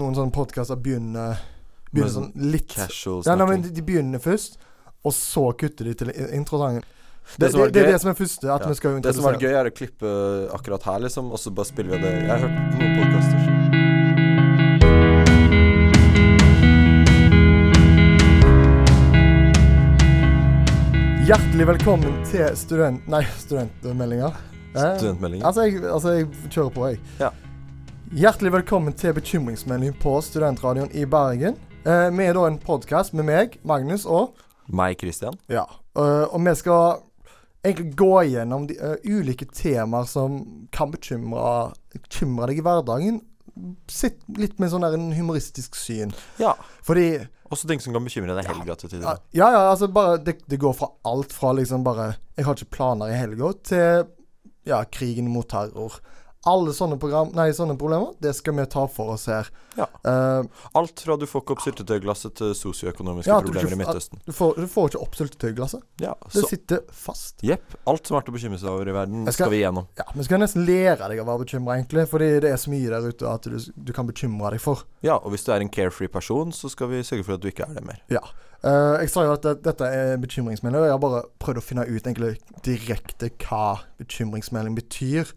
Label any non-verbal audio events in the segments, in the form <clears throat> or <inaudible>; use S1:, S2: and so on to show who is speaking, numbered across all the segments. S1: noen sånne podkaster begynner, begynner sånn
S2: Med
S1: litt
S2: Casual
S1: Ja, nei,
S2: snakking.
S1: men de- De begynner først, og så kutter de til in- introsangen. Det,
S2: Det
S1: det,
S2: som var
S1: det, er
S2: gøy-
S1: det som er første, at
S2: Ja.
S1: vi skal jo
S2: Det som var
S1: introdusere.
S2: gøy, er å klippe akkurat her, liksom, og så bare spiller vi det. Jeg har hørt noen podkaster.
S1: Hjertelig velkommen til student... Nei, studentmeldinger. Eh,
S2: Studentmeldinger.
S1: Altså jeg, altså, jeg kjører på, jeg.
S2: Ja.
S1: Hjertelig velkommen til bekymringsmelding på Studentradioen i Bergen. Eh, vi er da en podkast med meg, Magnus og
S2: Meg, Christian.
S1: Ja. eh, og vi skal egentlig gå gjennom de, eh, ulike temaer som kan bekymre, bekymre deg i hverdagen. Sitt litt med sånn der en humoristisk syn.
S2: Ja.
S1: Fordi
S2: Også ting som kan bekymre deg helga til
S1: ja,
S2: tider.
S1: ja, ja, altså bare det, det går fra alt fra liksom bare Jeg har ikke planer i helga, til ja, krigen mot terror. Alle sånne, program, nei, sånne problemer, det skal vi ta for oss her.
S2: Ja.
S1: Eh,
S2: Alt fra du får ikke opp syltetøyglasset til sosioøkonomiske
S1: Ja, at du
S2: problemer i
S1: ikke- at-
S2: Midtøsten.
S1: du, får, du får ikke oppsyltet tøyglasset.
S2: Ja,
S1: Det
S2: så
S1: sitter fast.
S2: Jepp. Alt som er til å bekymre seg over i verden,
S1: Jeg skal-
S2: skal, vi gjennom.
S1: Ja, Vi skal nesten lære deg å være bekymra, egentlig. Fordi det er så mye der ute at du, du kan bekymre deg for.
S2: Ja, og hvis du er en carefree person, så skal vi sørge for at du ikke er det mer.
S1: Ja. Eh, jeg sa jo at det, dette er bekymringsmelding, og jeg har bare prøvd å finne ut egentlig direkte hva bekymringsmelding betyr.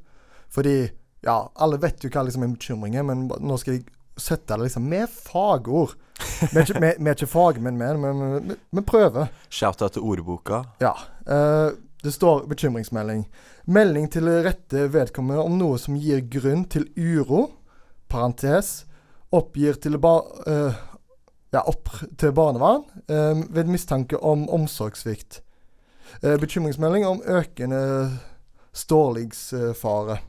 S1: Fordi ja, alle vet jo hva liksom en bekymring er, men ba- nå skal jeg sette det liksom med fagord. Vi er ikke, vi, vi er ikke fagmenn, men men- men- men- vi prøver.
S2: Shout-out til ordboka.
S1: Ja. eh, det står bekymringsmelding. Melding til rette vedkommende om noe som gir grunn til uro. Parentes. Oppgir til, ba eh, ja, opp til barnevern eh, ved mistanke om omsorgssvikt. Eh, bekymringsmelding om økende strålingsfare.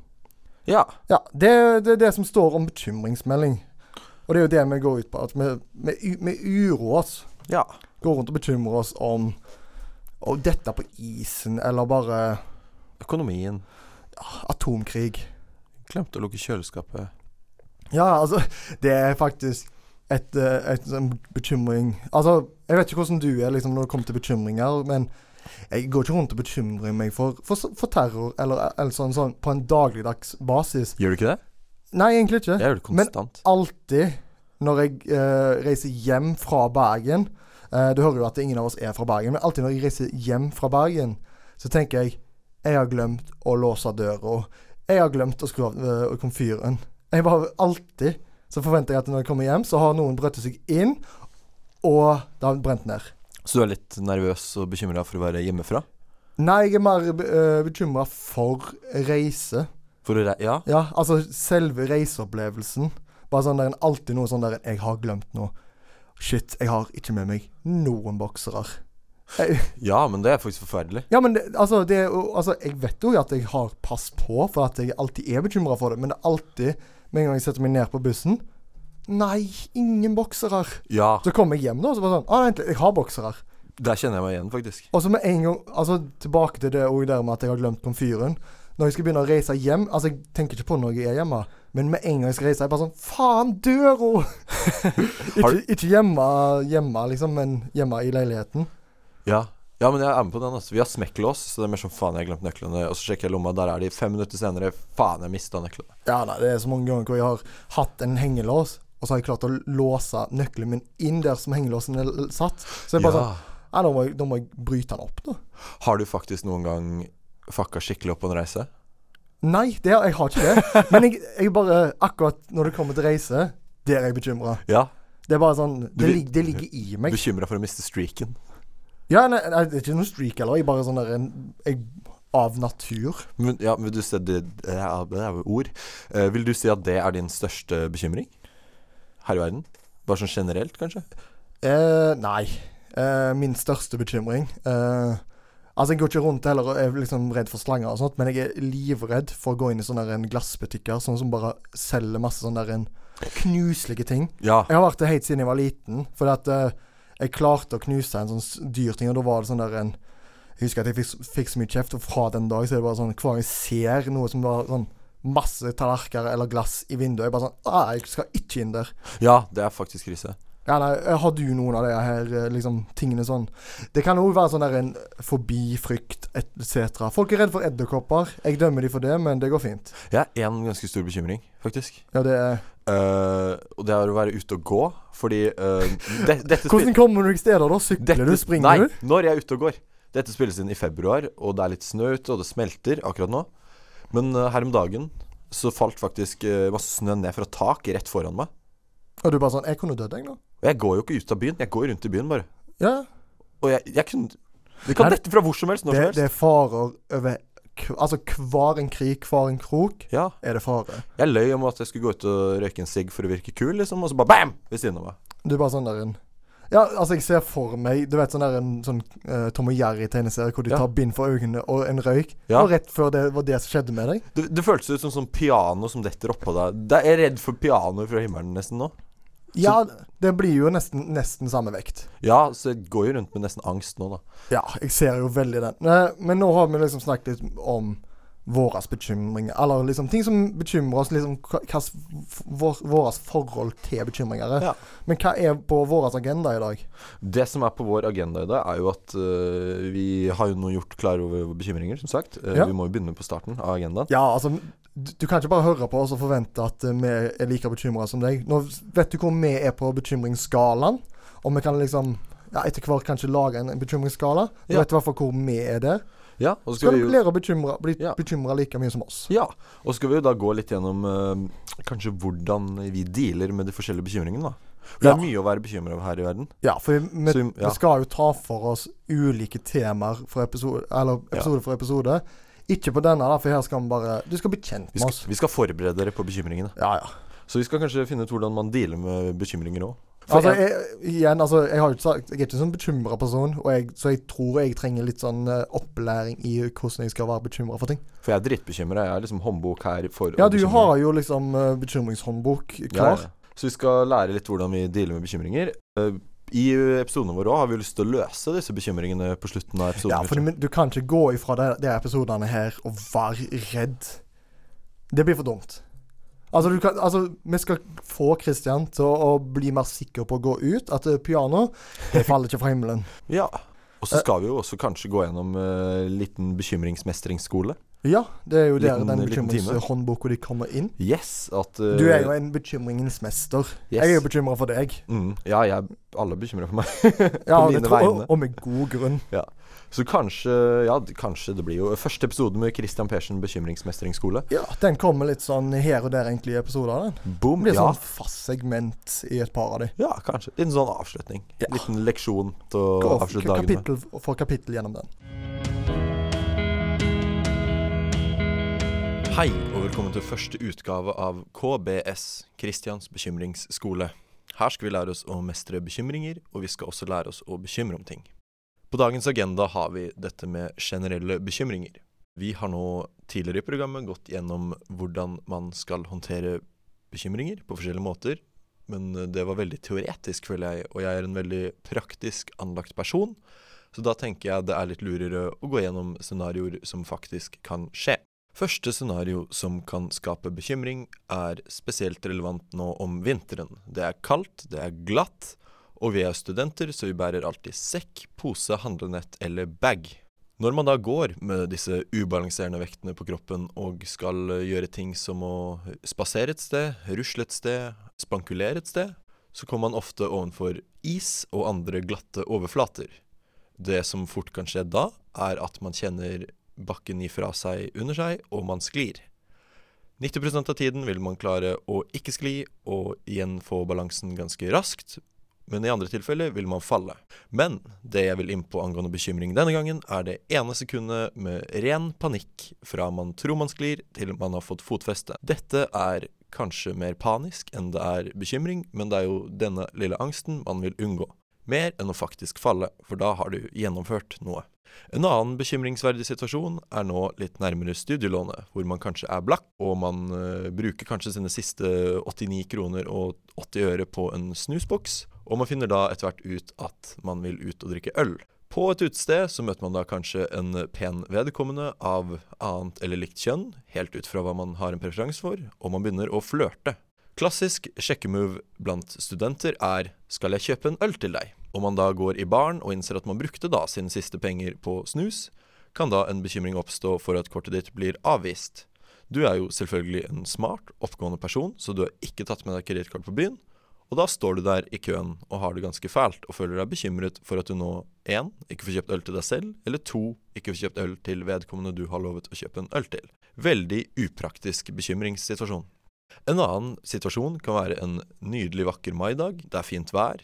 S2: Ja.
S1: Ja, det, det er det som står om bekymringsmelding. Og det er jo det vi går ut på. At vi, vi, u- vi uroer oss
S2: Ja.
S1: går rundt og bekymrer oss om å dette på isen, eller bare
S2: Økonomien.
S1: atomkrig.
S2: Glemte å lukke kjøleskapet.
S1: Ja, altså Det er faktisk et, eh, et, sånn bekymring Altså, jeg vet ikke hvordan du er liksom, når det kommer til bekymringer, men jeg går ikke rundt og bekymrer meg for, for, så- for terror eller, eller sånn, sånn på en dagligdags basis.
S2: Gjør du ikke det?
S1: Nei, egentlig ikke.
S2: Jeg gjør det
S1: Men-
S2: konstant.
S1: alltid når jeg eh, reiser hjem fra Bergen eh, Du hører jo at ingen av oss er fra Bergen, men alltid når jeg reiser hjem fra Bergen, så tenker jeg Jeg har glemt å låse døra. Jeg har glemt å skru av eh, komfyren. Jeg bare Alltid så forventer jeg at når jeg kommer hjem, så har noen brøtt seg inn, og det har brent ned.
S2: Så du er litt nervøs og bekymra for å være hjemmefra?
S1: Nei, jeg er mer uh, bekymra for reise.
S2: For å re ja.
S1: Ja, altså selve reiseopplevelsen. Bare sånn der en alltid noe sånn der en, Jeg har glemt noe. Shit, jeg har ikke med meg noen boksere. Jeg,
S2: ja, men det er faktisk forferdelig.
S1: ja, men det, altså, det er jo Altså, jeg vet jo at jeg har pass på, for at jeg alltid er bekymra for det, men det er alltid Med en gang jeg setter meg ned på bussen Nei, ingen boksere.
S2: Ja,
S1: Så kommer jeg hjem nå, og så bare sånn Å, vent litt, jeg har boksere.
S2: der kjenner jeg meg igjen, faktisk.
S1: Og så med en gang Altså, tilbake til det òg der med at jeg har glemt komfyren. Når jeg skal begynne å reise hjem Altså, jeg tenker ikke på når jeg er hjemme, men med en gang jeg skal reise, er jeg bare sånn Faen, døra! ikke, ikke hjemme, hjemme, liksom, men hjemme i leiligheten.
S2: Ja. ja, men jeg er med på den. altså Vi har smekklås, så det er mer sånn faen, jeg har glemt nøklene. Og så sjekker jeg lomma, der er de. Fem minutter senere, faen, jeg mista nøklene.
S1: Ja, nei, det er så mange ganger hvor jeg har hatt en hengelås, og så har jeg klart å låse nøkkelen min inn der som hengelåsen er l- satt. Så jeg bare
S2: Ja.
S1: sånn Nei, nå må jeg, nå må jeg bryte den opp, da.
S2: Har du faktisk noen gang fucka skikkelig opp på en reise?
S1: Nei, det, har- jeg har ikke det. Men jeg, jeg bare Akkurat når det kommer til reise, der er jeg bekymra.
S2: Ja.
S1: Det er bare sånn Det,
S2: vil-
S1: lig, det ligger i meg.
S2: Bekymra for å miste streaken.
S1: Ja, nei, nei, det er ikke noe streak heller. Jeg er bare sånn der en, jeg, Av natur.
S2: Men, ja, men du ser det, det er det er jo ord. Eh, vil du si at det er din største bekymring her i verden? Bare sånn generelt, kanskje?
S1: Eh, nei. Eh, min største bekymring eh, Altså, jeg går ikke rundt heller og er liksom redd for slanger og sånt, men jeg er livredd for å gå inn i sånne der en glassbutikker sånn som bare selger masse sånne der en knuselige ting.
S2: Ja.
S1: Jeg har vært det helt siden jeg var liten. Fordi at eh, jeg klarte å knuse en sånn s- dyr ting, og da var det sånn der en Jeg husker at jeg fikk, s- fikk så mye kjeft, og fra den dag så er det bare sånn Hver gang jeg ser noe som var sånn Masse tallerkener eller glass i vinduet, jeg bare sånn ah, Jeg skal ikke inn der.
S2: ja, det er faktisk krise.
S1: Ja, nei, eh, Har du noen av de her eh, liksom, tingene sånn Det kan òg være sånn der en forbi frykt etc. Folk er redd for edderkopper. Jeg dømmer de for det, men det går fint.
S2: Jeg har én ganske stor bekymring, faktisk.
S1: Ja, det er
S2: eh, og det er å være ute og gå, fordi eh,
S1: <laughs>
S2: det, dette spil-
S1: Hvordan kommer du deg steder da? Sykler
S2: dette-
S1: du? Springer
S2: nei,
S1: du?
S2: når jeg er ute og går. Dette spilles inn i februar, og det er litt snø ute, og det smelter akkurat nå. Men eh, her om dagen så falt faktisk eh, masse snø ned fra tak rett foran meg.
S1: Og du bare sånn Jeg kunne dødd, jeg, nå.
S2: Og jeg går jo ikke ut av byen, jeg går rundt i byen bare.
S1: Ja.
S2: Og jeg, jeg kunne Det kan
S1: Nei,
S2: dette fra hvor som helst,
S1: Det,
S2: når som helst.
S1: det er farer over kv- Altså hver en krik, hver en krok
S2: Ja.
S1: er det fare.
S2: Jeg løy om at jeg skulle gå ut og røyke en sigg for å virke kul, liksom, og så bare bam! Ved siden av meg.
S1: Du er bare sånn der en Ja, altså, jeg ser for meg Du vet sånn der en sånn eh, Tom og Jerry-tegneserie hvor de
S2: Ja.
S1: tar bind for øynene og en røyk.
S2: Ja.
S1: Og rett før det var det som skjedde med deg.
S2: Det, det føltes ut som sånn piano som detter oppå deg. Det, jeg er redd for pianoet fra himmelen nesten nå.
S1: Ja, det blir jo nesten, nesten samme vekt.
S2: Ja, så jeg går jo rundt med nesten angst nå, da.
S1: Ja, jeg ser jo veldig den. Eh, Men nå har vi liksom snakket litt om våre bekymringer. Eller liksom ting som bekymrer oss. Liksom hva- hva s- f- vår, vårt forhold til bekymringer.
S2: Ja.
S1: Men hva er på vår agenda i dag?
S2: Det som er på vår agenda i dag, er jo at øh, vi har jo nå gjort klar over våre bekymringer, som sagt. Eh,
S1: Ja.
S2: Vi må jo begynne på starten av agendaen.
S1: Ja, altså du, du kan ikke bare høre på oss og forvente at eh, vi er like bekymra som deg. Nå vet du hvor vi er på bekymringsskalaen, og vi kan liksom ja, etter hvert kanskje lage en en bekymringsskala. Du
S2: Ja.
S1: vet i hvert fall hvor vi er der.
S2: Ja, og så
S1: Så
S2: skal
S1: kan
S2: vi
S1: dere
S2: jo
S1: lære å bekymre, bli
S2: Ja.
S1: bekymra like mye som oss.
S2: ja, og så skal vi jo da gå litt gjennom eh, kanskje hvordan vi dealer med de forskjellige bekymringene, da. For det
S1: Ja.
S2: er mye å være bekymra over her i verden.
S1: Ja, for vi, vi,
S2: Så vi- ja.
S1: vi skal jo ta for oss ulike temaer for episode, eller episode for episode. Ikke på denne, da, for her skal vi bare Du skal bli kjent
S2: Vi
S1: med
S2: skal,
S1: oss.
S2: vi skal forberede dere på bekymringene.
S1: Ja, ja.
S2: Så vi skal kanskje finne ut hvordan man dealer med bekymringer òg.
S1: Altså, jeg, igjen, altså, jeg har jo ikke sagt Jeg er ikke en sånn bekymra person, og jeg, så jeg tror jeg trenger litt sånn eh, opplæring i hvordan jeg skal være bekymra for ting.
S2: For jeg er drittbekymra. Jeg er liksom håndbok her for å
S1: Ja, du
S2: bekymre.
S1: har jo liksom eh, bekymringshåndbok
S2: Ja,
S1: klar.
S2: ja. Så vi skal lære litt hvordan vi dealer med bekymringer. Eh, I episodene våre også har vi jo lyst til å løse disse bekymringene på slutten av episoden.
S1: Ja, for du, du kan ikke gå ifra de, de episodene her og være redd. Det blir for dumt. Altså, du kan, altså, vi skal få Christian til å, å bli mer sikker på å gå ut. At eh, piano det faller ikke fra
S2: <laughs>
S1: himmelen.
S2: Ja. Og
S1: Eh.
S2: så skal vi jo også kanskje gå gjennom eh, liten bekymringsmestringsskole.
S1: Ja, det er jo der
S2: Liten-
S1: den
S2: liten time.
S1: bekymringshåndboka di kommer inn.
S2: Yes, at eh,
S1: Du er jo en bekymringens mester.
S2: yes.
S1: Jeg er jo bekymra for deg.
S2: mm, Ja, jeg er alle bekymra for meg. <laughs>
S1: Ja,
S2: På
S1: det
S2: mine
S1: tror-
S2: vegne.
S1: Og, og med god grunn.
S2: Så kanskje Ja, d- kanskje det blir jo første episode med Christian Persen bekymringsmestringsskole.
S1: Ja, Den kommer litt sånn her og der egentlig i episoder. Den Det
S2: Boom.
S1: blir
S2: Ja.
S1: sånn fast segment i et par av de.
S2: ja, kanskje. Liten sånn avslutning.
S1: Ja.
S2: Liten leksjon til
S1: Gå
S2: å
S1: f-
S2: avslutte dagen med.
S1: kapittel for kapittel gjennom den.
S2: Hei, og velkommen til første utgave av KBS, Kristians bekymringsskole. Her skal vi lære oss å mestre bekymringer, og vi skal også lære oss å bekymre om ting. På dagens agenda har vi dette med generelle bekymringer. Vi har nå tidligere i programmet gått gjennom hvordan man skal håndtere bekymringer på forskjellige måter, men det var veldig teoretisk, føler jeg, og jeg er en veldig praktisk anlagt person, så da tenker jeg det er litt lurere å gå gjennom scenarioer som faktisk kan skje. Første scenario som kan skape bekymring, er spesielt relevant nå om vinteren. Det er kaldt, det er glatt, og vi er studenter, så vi bærer alltid sekk, pose, handlenett eller bag. Når man da går med disse ubalanserende vektene på kroppen og skal eh, gjøre ting som å spasere et sted, rusle et sted, spankulere et sted, så kommer man ofte ovenfor is og andre glatte overflater. Det som fort kan skje da, er at man kjenner bakken ifra seg under seg, og man sklir. 90 av tiden vil man klare å ikke skli, og igjen få balansen ganske raskt, men i andre tilfeller vil man falle. Men det jeg vil inn på angående bekymring denne gangen, er det ene sekundet med ren panikk fra man tror man sklir, til man har fått fotfeste. Dette er kanskje mer panisk enn det er bekymring, men det er jo denne lille angsten man vil unngå. Mer enn å faktisk falle, for da har du gjennomført noe. En annen bekymringsverdig situasjon er nå litt nærmere studielånet, hvor man kanskje er blakk, og man eh, bruker kanskje sine siste 89 kroner og 80 øre på en snusboks, og man finner da etter hvert ut at man vil ut og drikke øl. På et utested så møter man da kanskje en pen vedkommende av annet eller likt kjønn, helt ut fra hva man har en preferanse for, og man begynner å flørte. Klassisk sjekkemove blant studenter er 'skal jeg kjøpe en øl til deg'? Om man da går i baren og innser at man brukte da sine siste penger på snus, kan da en bekymring oppstå for at kortet ditt blir avvist. Du er jo selvfølgelig en smart, oppegående person, så du har ikke tatt med deg kredittkort på byen. Og da står du der i køen og har det ganske fælt, og føler deg bekymret for at du nå én, ikke får kjøpt øl til deg selv, eller to, ikke får kjøpt øl til vedkommende du har lovet å kjøpe en øl til. Veldig upraktisk bekymringssituasjon. En annen situasjon kan være en nydelig vakker maidag, det er fint vær.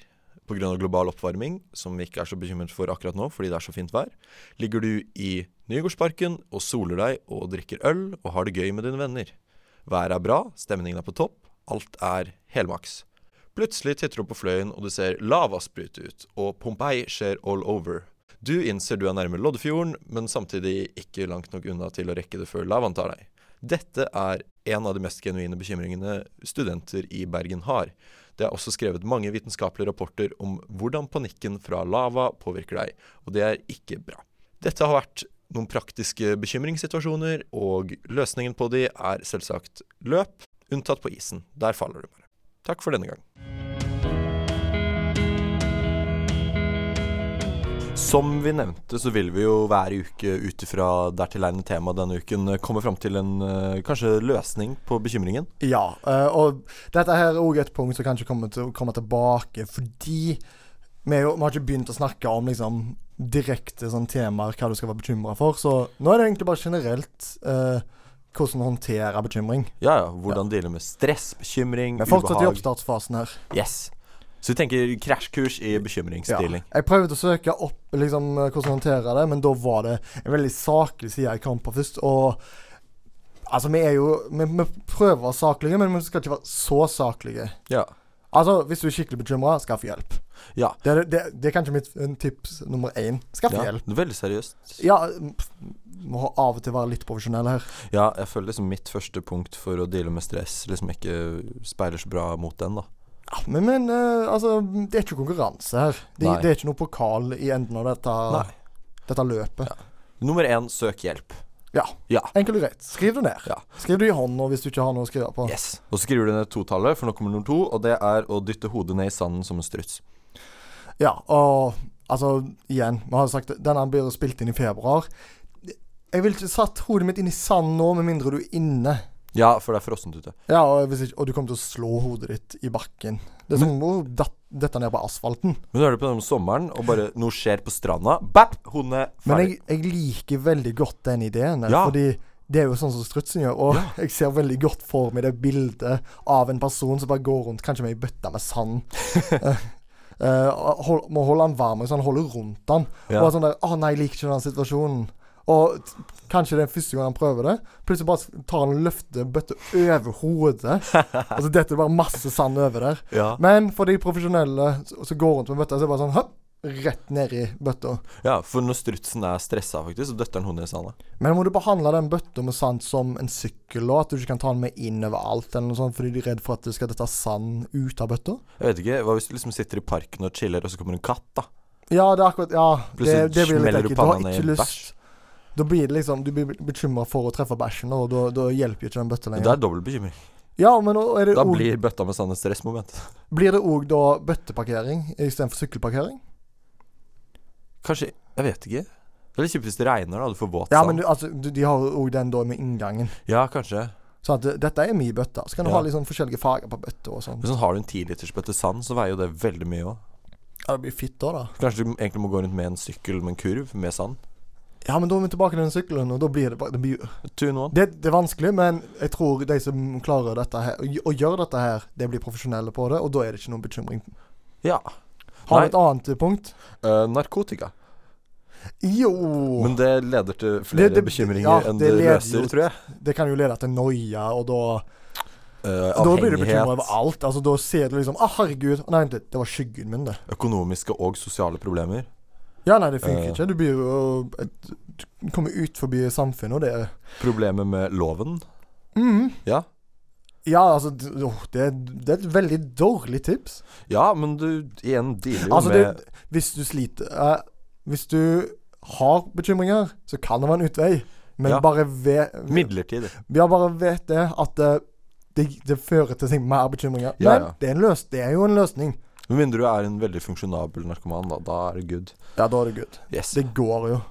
S2: Pga. global oppvarming, som vi ikke er så bekymret for akkurat nå fordi det er så fint vær, ligger du i Nygårdsparken og soler deg og drikker øl og har det gøy med dine venner. Været er bra, stemningen er på topp, alt er helmaks. Plutselig titter du opp på fløyen, og du ser lava sprute ut, og Pompeii skjer all over. Du innser du er nærme Loddefjorden, men samtidig ikke langt nok unna til å rekke det før lavaen tar deg. Dette er en av de mest genuine bekymringene studenter i Bergen har. Det er også skrevet mange vitenskapelige rapporter om hvordan panikken fra lava påvirker deg, og det er ikke bra. Dette har vært noen praktiske bekymringssituasjoner, og løsningen på de er selvsagt løp, unntatt på isen. Der faller du bare. Takk for denne gang. Som vi nevnte, så vil vi jo hver uke ut ifra dertilegnende tema denne uken komme fram til en eh, kanskje løsning på bekymringen.
S1: Ja, eh, og dette her er òg et punkt som kanskje kommer til å komme tilbake, fordi vi, er jo, vi har ikke begynt å snakke om liksom direkte sånn temaer, hva du skal være bekymra for. Så nå er det egentlig bare generelt eh, hvordan håndtere bekymring.
S2: Ja ja, hvordan deale med stress, bekymring,
S1: Vi er fortsatt i oppstartsfasen her.
S2: Yes. Så vi tenker krasjkurs i bekymringsdealing.
S1: Jeg prøvde å søke opp liksom, eh, hvordan håndtere det, men da var det en veldig saklig side jeg kom på først. Og altså, vi er jo Vi, vi prøver å være saklige, men vi skal ikke være så saklige.
S2: Ja.
S1: Altså, hvis du er skikkelig bekymra, skaff hjelp.
S2: Ja.
S1: Det er, det, det er kanskje mitt eh, tips nummer én. Skaff
S2: ja.
S1: hjelp.
S2: Veldig seriøst.
S1: Ja, pff, må av og til være litt profesjonell her.
S2: Ja, jeg føler liksom mitt første punkt for å deale med stress liksom ikke speiler så bra mot den, da.
S1: Ja, men, men eh, altså, det er ikke konkurranse her. Det,
S2: Nei.
S1: det er ikke noe pokal i enden av dette,
S2: Nei.
S1: dette løpet.
S2: Nummer én, søk hjelp.
S1: Ja.
S2: Ja.
S1: Enkelt og greit. Skriv det ned.
S2: Ja.
S1: Skriv det i hånda hvis du ikke har noe å skrive på.
S2: Yes. Og så skriver du ned totallet, for nå kommer nummer to, og det er å dytte hodet ned i sanden som en struts.
S1: Ja, og altså, igjen, vi har jo sagt det, denne blir spilt inn i februar. Jeg ville ikke satt hodet mitt inn i sand nå, med mindre du er inne.
S2: Ja, for det er frossent ute.
S1: Ja, og, hvis ikke, og du kommer til å slå hodet ditt i bakken. Det er som å dat- dette ned på asfalten.
S2: Men du hører på den om sommeren, og bare noe skjer på stranda. Bap! Hodet ned.
S1: Men
S2: Ferdig.
S1: jeg, jeg liker veldig godt den ideen. der,
S2: Ja.
S1: Fordi det er jo sånn som strutsen gjør. Og jeg ser veldig godt for meg det bildet av en person som bare går rundt, kanskje med ei bøtte med
S2: <laughs>
S1: sand. Eh, og hold, må holde han varm, så han holder rundt han.
S2: Ja.
S1: Og er sånn der 'Å nei, jeg liker ikke den situasjonen'. Og t kanskje det er første gang han prøver det. Plutselig bare tar han og løfter bøtta over hodet.
S2: <laughs>
S1: og så detter det bare masse sand over der.
S2: Ja.
S1: Men for de profesjonelle s- som går rundt med bøtta, så er det bare sånn «Høpp!» Rett ned i bøtta.
S2: ja, for når strutsen er stressa, faktisk, så døtter den hodet ned i sanda.
S1: Men må du behandle den bøtta med sand som en sykkel, og at du ikke kan ta den med inn overalt eller noe sånt fordi du er redd for at du skal dette sand ut av bøtta?
S2: Jeg vet ikke, Hva hvis du liksom sitter i parken og chiller, og så kommer en katt, da?
S1: Ja, det er akkurat Ja, det,
S2: Plutselig
S1: det blir litt
S2: smeller du
S1: ekkelt. Du har
S2: panna ned i
S1: ikke
S2: en
S1: lyst. Da blir det liksom Du blir bekymra for å treffe bæsjen, og da, da hjelper jo ikke den bøtta
S2: Det
S1: lenger.
S2: er dobbel bekymring.
S1: Ja, men nå er det
S2: Da
S1: og, blir...
S2: blir bøtta med sand et stressmoment.
S1: blir det òg da bøtteparkering istedenfor sykkelparkering?
S2: Kanskje Jeg vet ikke. Det er litt kjipt hvis det regner, da. Du får våt
S1: Ja,
S2: sand.
S1: men du, altså, du, de har jo òg den da med inngangen.
S2: Ja, kanskje.
S1: Sånn at dette er min bøtte. Så kan du
S2: Ja.
S1: ha litt sånn forskjellige farger på bøtta og sånn.
S2: Men sånn har du en tilitersbøtte sand, så veier jo det veldig mye òg.
S1: Ja, det blir fitt da, da.
S2: Kanskje du egentlig må gå rundt med en sykkel med en kurv med sand.
S1: Ja, men da er vi tilbake til den sykkelen, og da blir det bare det blir
S2: Two in one.
S1: Det, det er vanskelig, men jeg tror de som klarer dette her, å gjøre dette her, de blir profesjonelle på det, og da er det ikke noen bekymring.
S2: Ja.
S1: Har
S2: Nei.
S1: du et annet punkt?
S2: Eh, narkotika.
S1: Jo
S2: Men det leder til flere
S1: Det- det-
S2: bekymringer
S1: ja,
S2: enn det,
S1: det leder
S2: løser,
S1: jo-
S2: tror jeg.
S1: Det kan jo lede til noia, og da
S2: Eh,
S1: Da blir du bekymra over
S2: avhengighet,
S1: alt. Altså, da ser du liksom Å, herregud. Nei, vent litt. Det var skyggen min, det.
S2: økonomiske og sosiale problemer.
S1: Ja, nei, det funker
S2: Eh.
S1: ikke. Du blir jo et, Du kommer ut forbi samfunnet, og det er
S2: Problemer med loven.
S1: Mhm.
S2: Ja.
S1: Ja, altså d- åh, det, det er et veldig dårlig tips.
S2: Ja, men du igjen dealer jo
S1: Altså,
S2: med
S1: det, hvis du sliter eh, Hvis du har bekymringer, så kan det være en utvei. Men
S2: Ja.
S1: bare vet
S2: midlertidig.
S1: Ja, bare vet det at eh, det, det fører til ting, mer bekymringer.
S2: Ja,
S1: Men
S2: ja.
S1: Det, er en løs, det er jo en løsning.
S2: Med mindre du er en veldig funksjonabel narkoman, da. Da er det good.
S1: Ja, da er det good.
S2: Yes.
S1: Det går jo.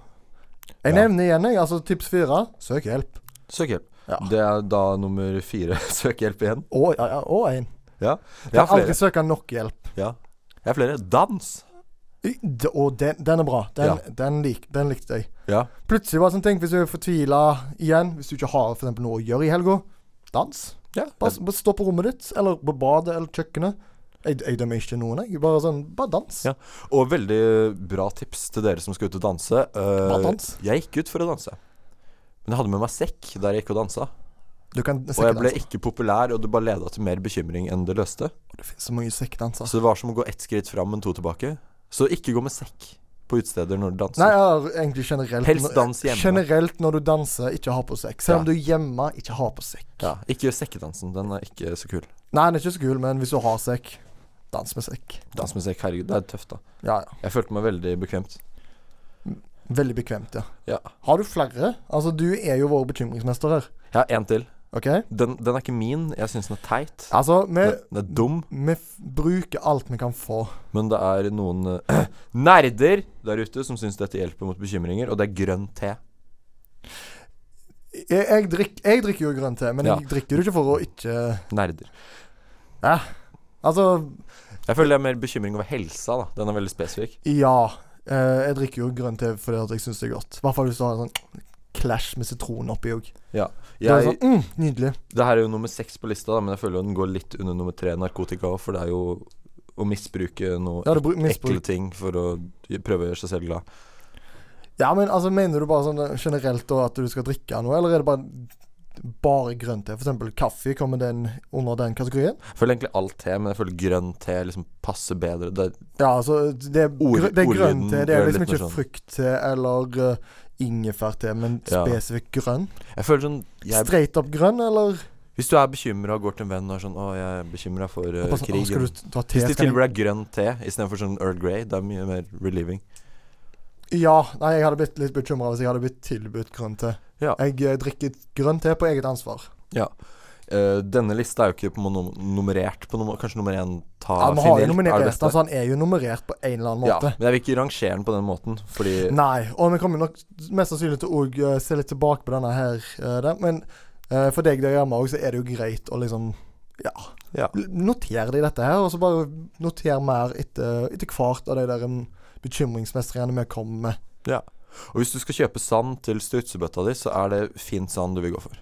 S1: Jeg
S2: Ja.
S1: nevner igjen, jeg. Altså tips fire. Søk hjelp.
S2: Søk hjelp.
S1: Ja.
S2: Det er da nummer fire. <laughs> Søk hjelp igjen.
S1: Og, ja, ja, og en.
S2: Jeg
S1: Jeg
S2: har
S1: har aldri
S2: flere.
S1: søkt nok hjelp.
S2: Ja. Jeg har flere. Dans.
S1: I- d- Og den, den er bra. Den,
S2: Ja.
S1: den, lik, den likte jeg.
S2: Ja.
S1: Plutselig bare sånn tenk hvis du er fortvila igjen, hvis du ikke har for eksempel noe å gjøre i helga. Dans.
S2: ja.
S1: Bare, s- bare stå på rommet ditt, eller på badet eller kjøkkenet. Jeg, jeg dømmer ikke noen, jeg. Bare sånn, bare dans.
S2: Ja. Og veldig bra tips til dere som skal ut og danse. Eh,
S1: Bare dans.
S2: Jeg gikk ut for å danse. Men jeg hadde med meg sekk der jeg gikk og dansa.
S1: Du kan
S2: Og jeg ble
S1: sekkedanse.
S2: ikke populær, og det bare leda til mer bekymring enn det løste.
S1: Det finnes så mye sekkedanser.
S2: Så det var som å gå ett skritt fram, men to tilbake. Så ikke gå med sekk på utesteder når du danser.
S1: Nei, jeg har egentlig generelt
S2: Helst dans hjemme.
S1: Generelt når du danser, ikke ha på sekk. Selv om du er hjemme, ikke ha på sekk.
S2: Ja, ikke sekkedansen. Den er ikke så kul.
S1: Nei, den er ikke så kul, men hvis du har sekk, dans med sekk.
S2: Dans med sekk, herregud, det er tøft, da.
S1: Ja, ja.
S2: Jeg følte meg veldig bekvemt.
S1: Veldig bekvemt, ja.
S2: Ja.
S1: Har du flere? Altså, du er jo vår bekymringsmester her,
S2: Jeg har én til.
S1: OK?
S2: Den, den er ikke min. Jeg syns den er teit.
S1: Altså, vi,
S2: Den, den er dum,
S1: vi f bruker alt vi kan få.
S2: men det er noen <clears throat> eh, nerder der ute som syns dette hjelper mot bekymringer, og det er grønn te.
S1: Jeg, jeg, drikk, jeg drikker jo grønn te, men
S2: Ja.
S1: jeg drikker det ikke for å ikke
S2: Nerder.
S1: Altså,
S2: Jeg føler det er mer bekymring over helsa, da. Den er veldig spesifikk.
S1: ja. eh, jeg drikker jo grønn te fordi at jeg syns det er godt. I hvert fall hvis du har en sånn clash med sitron oppi òg. Det er
S2: Jeg,
S1: sånn, mm, nydelig.
S2: det her er jo nummer seks på lista, da, men jeg føler jo den går litt under nummer tre, narkotika òg, for det er jo å misbruke noe
S1: Ja, det bru- misbruk.
S2: ekle ting for å prøve å gjøre seg selv glad.
S1: Ja, men altså, mener du bare sånn eh, generelt da at du skal drikke noe, eller er det bare bare grønn te? For eksempel kaffe, kommer den under den kategorien?
S2: Jeg føler egentlig all te, men jeg føler grønn te liksom passer bedre. Det,
S1: Ja, altså, det er,
S2: Ord-
S1: grø det er grønn
S2: ordlyden
S1: te. Det er
S2: gjør
S1: liksom
S2: litt mer
S1: ikke
S2: sånn.
S1: frukt-te eller eh, ingefærte, men
S2: Ja.
S1: spesifikt grønn.
S2: jeg føler sånn jeg,
S1: Straight up grønn, eller?
S2: Hvis du er bekymra og går til en venn og er sånn 'Å, jeg er bekymra for eh,
S1: Bare sånn, «Å, skal
S2: krigen'.
S1: du ta te?
S2: Hvis de
S1: Skal jeg-
S2: tilbyr deg grønn te istedenfor sånn Earl Grey, det er mye mer relieving.
S1: Ja, nei, jeg hadde blitt litt bekymra hvis jeg hadde blitt tilbudt grønn te.
S2: Ja.
S1: Jeg eh, drikker grønn te på eget ansvar.
S2: Ja. Eh, denne lista er jo ikke på nom nummerert på nummer, Kanskje nummer én ta
S1: Ja, Vi
S2: Finn
S1: har jo
S2: Hjelp er
S1: nominert
S2: det
S1: resten,
S2: beste.
S1: så han er jo nummerert på en eller annen
S2: Ja,
S1: måte.
S2: men jeg vil ikke rangere den på den måten, fordi
S1: Nei, og vi kommer nok mest sannsynlig til å eh, se litt tilbake på denne her, eh, der. men eh, for deg der hjemme òg, så er det jo greit å liksom Ja.
S2: Ja.
S1: L- Noter deg dette her, og så bare noter mer etter, etter hvert av de der um, bekymringsmestringene vi kommer med.
S2: Ja. Og hvis du skal kjøpe sand til strutsebøtta di, så er det fin sand du vil gå for.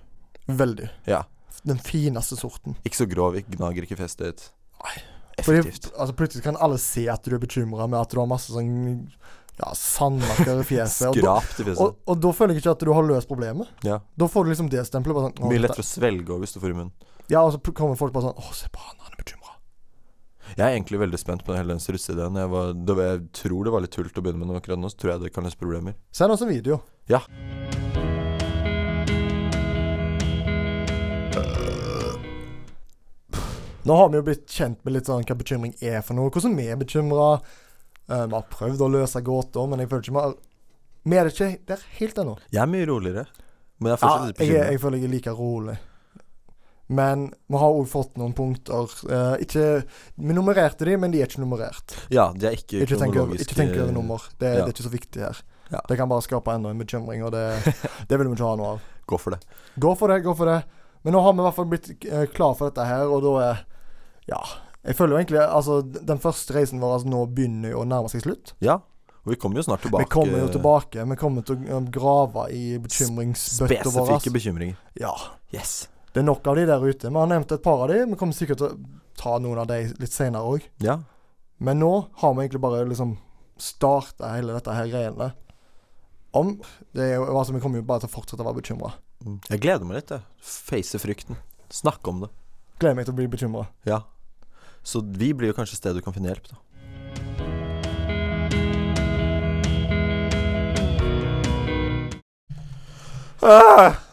S1: Veldig.
S2: Ja.
S1: Den fineste sorten.
S2: Ikke så grov, ikke gnager, ikke festet.
S1: Nei. Fordi,
S2: Effektivt.
S1: altså, plutselig kan alle se at du er bekymra med at du har masse sånn ja, sandmarker i fjeset. Og da,
S2: Skrapt i
S1: og,
S2: fjeset.
S1: og da føler jeg ikke at du har løst problemet.
S2: Ja.
S1: Da får du liksom det stempelet. Bare sånn, «Å,
S2: Mye
S1: dette-
S2: lettere å svelge også hvis du får i munnen.
S1: Ja, og så pl- kommer folk bare sånn Å, se på han, han er bekymra.
S2: Jeg er egentlig veldig spent på hele den strutseideen. Jeg, var- det var- jeg tror det var litt tull til å begynne med, men akkurat nå så tror jeg det kan løse problemer.
S1: Send oss en video.
S2: Ja.
S1: Nå har vi jo blitt kjent med litt sånn hva bekymring er for noe, hvordan vi er bekymra. vi har prøvd å løse gåter, men jeg føler ikke vi har Vi er det ikke der helt ennå.
S2: Jeg er mye roligere, men jeg er
S1: Ja,
S2: fortsatt
S1: jeg,
S2: litt
S1: er-
S2: bekymra.
S1: jeg føler jeg er like rolig. Men vi har òg fått noen punkter. Eh, ikke, vi nummererte de, men de er ikke nummerert.
S2: Ja, de er ikke,
S1: Ikke tenk over, ikke tenk over
S2: kronologiske-
S1: nummer. Det,
S2: ja.
S1: det er ikke så viktig her.
S2: Ja.
S1: Det kan bare skape enda en bekymring, og det,
S2: <laughs>
S1: det vil vi ikke ha noe av.
S2: Gå for det.
S1: Gå for det, gå for det. Men nå har vi i hvert fall blitt eh, klar for dette her, og da er Ja. Jeg føler jo egentlig Altså, d- den første reisen vår altså, nå begynner jo å nærme seg slutt.
S2: Ja. Og vi kommer jo snart tilbake.
S1: Vi kommer jo tilbake. Vi kommer til å eh, grave i bekymringsbøtta vår.
S2: Spesifikke bekymringer.
S1: Ja.
S2: Yes.
S1: Det er nok av de der ute. Vi har nevnt et par av de. Vi kommer sikkert til å ta noen av de litt senere òg.
S2: Ja.
S1: Men nå har vi egentlig bare liksom starta hele dette her greiene. Om det er jo, altså, Vi kommer jo bare til å fortsette å være bekymra.
S2: Mm. Jeg gleder meg litt, jeg. Face frykten. Snakke om det.
S1: Gleder meg til å bli bekymra.
S2: Ja. Så vi blir jo kanskje stedet du kan finne hjelp, da. Ah!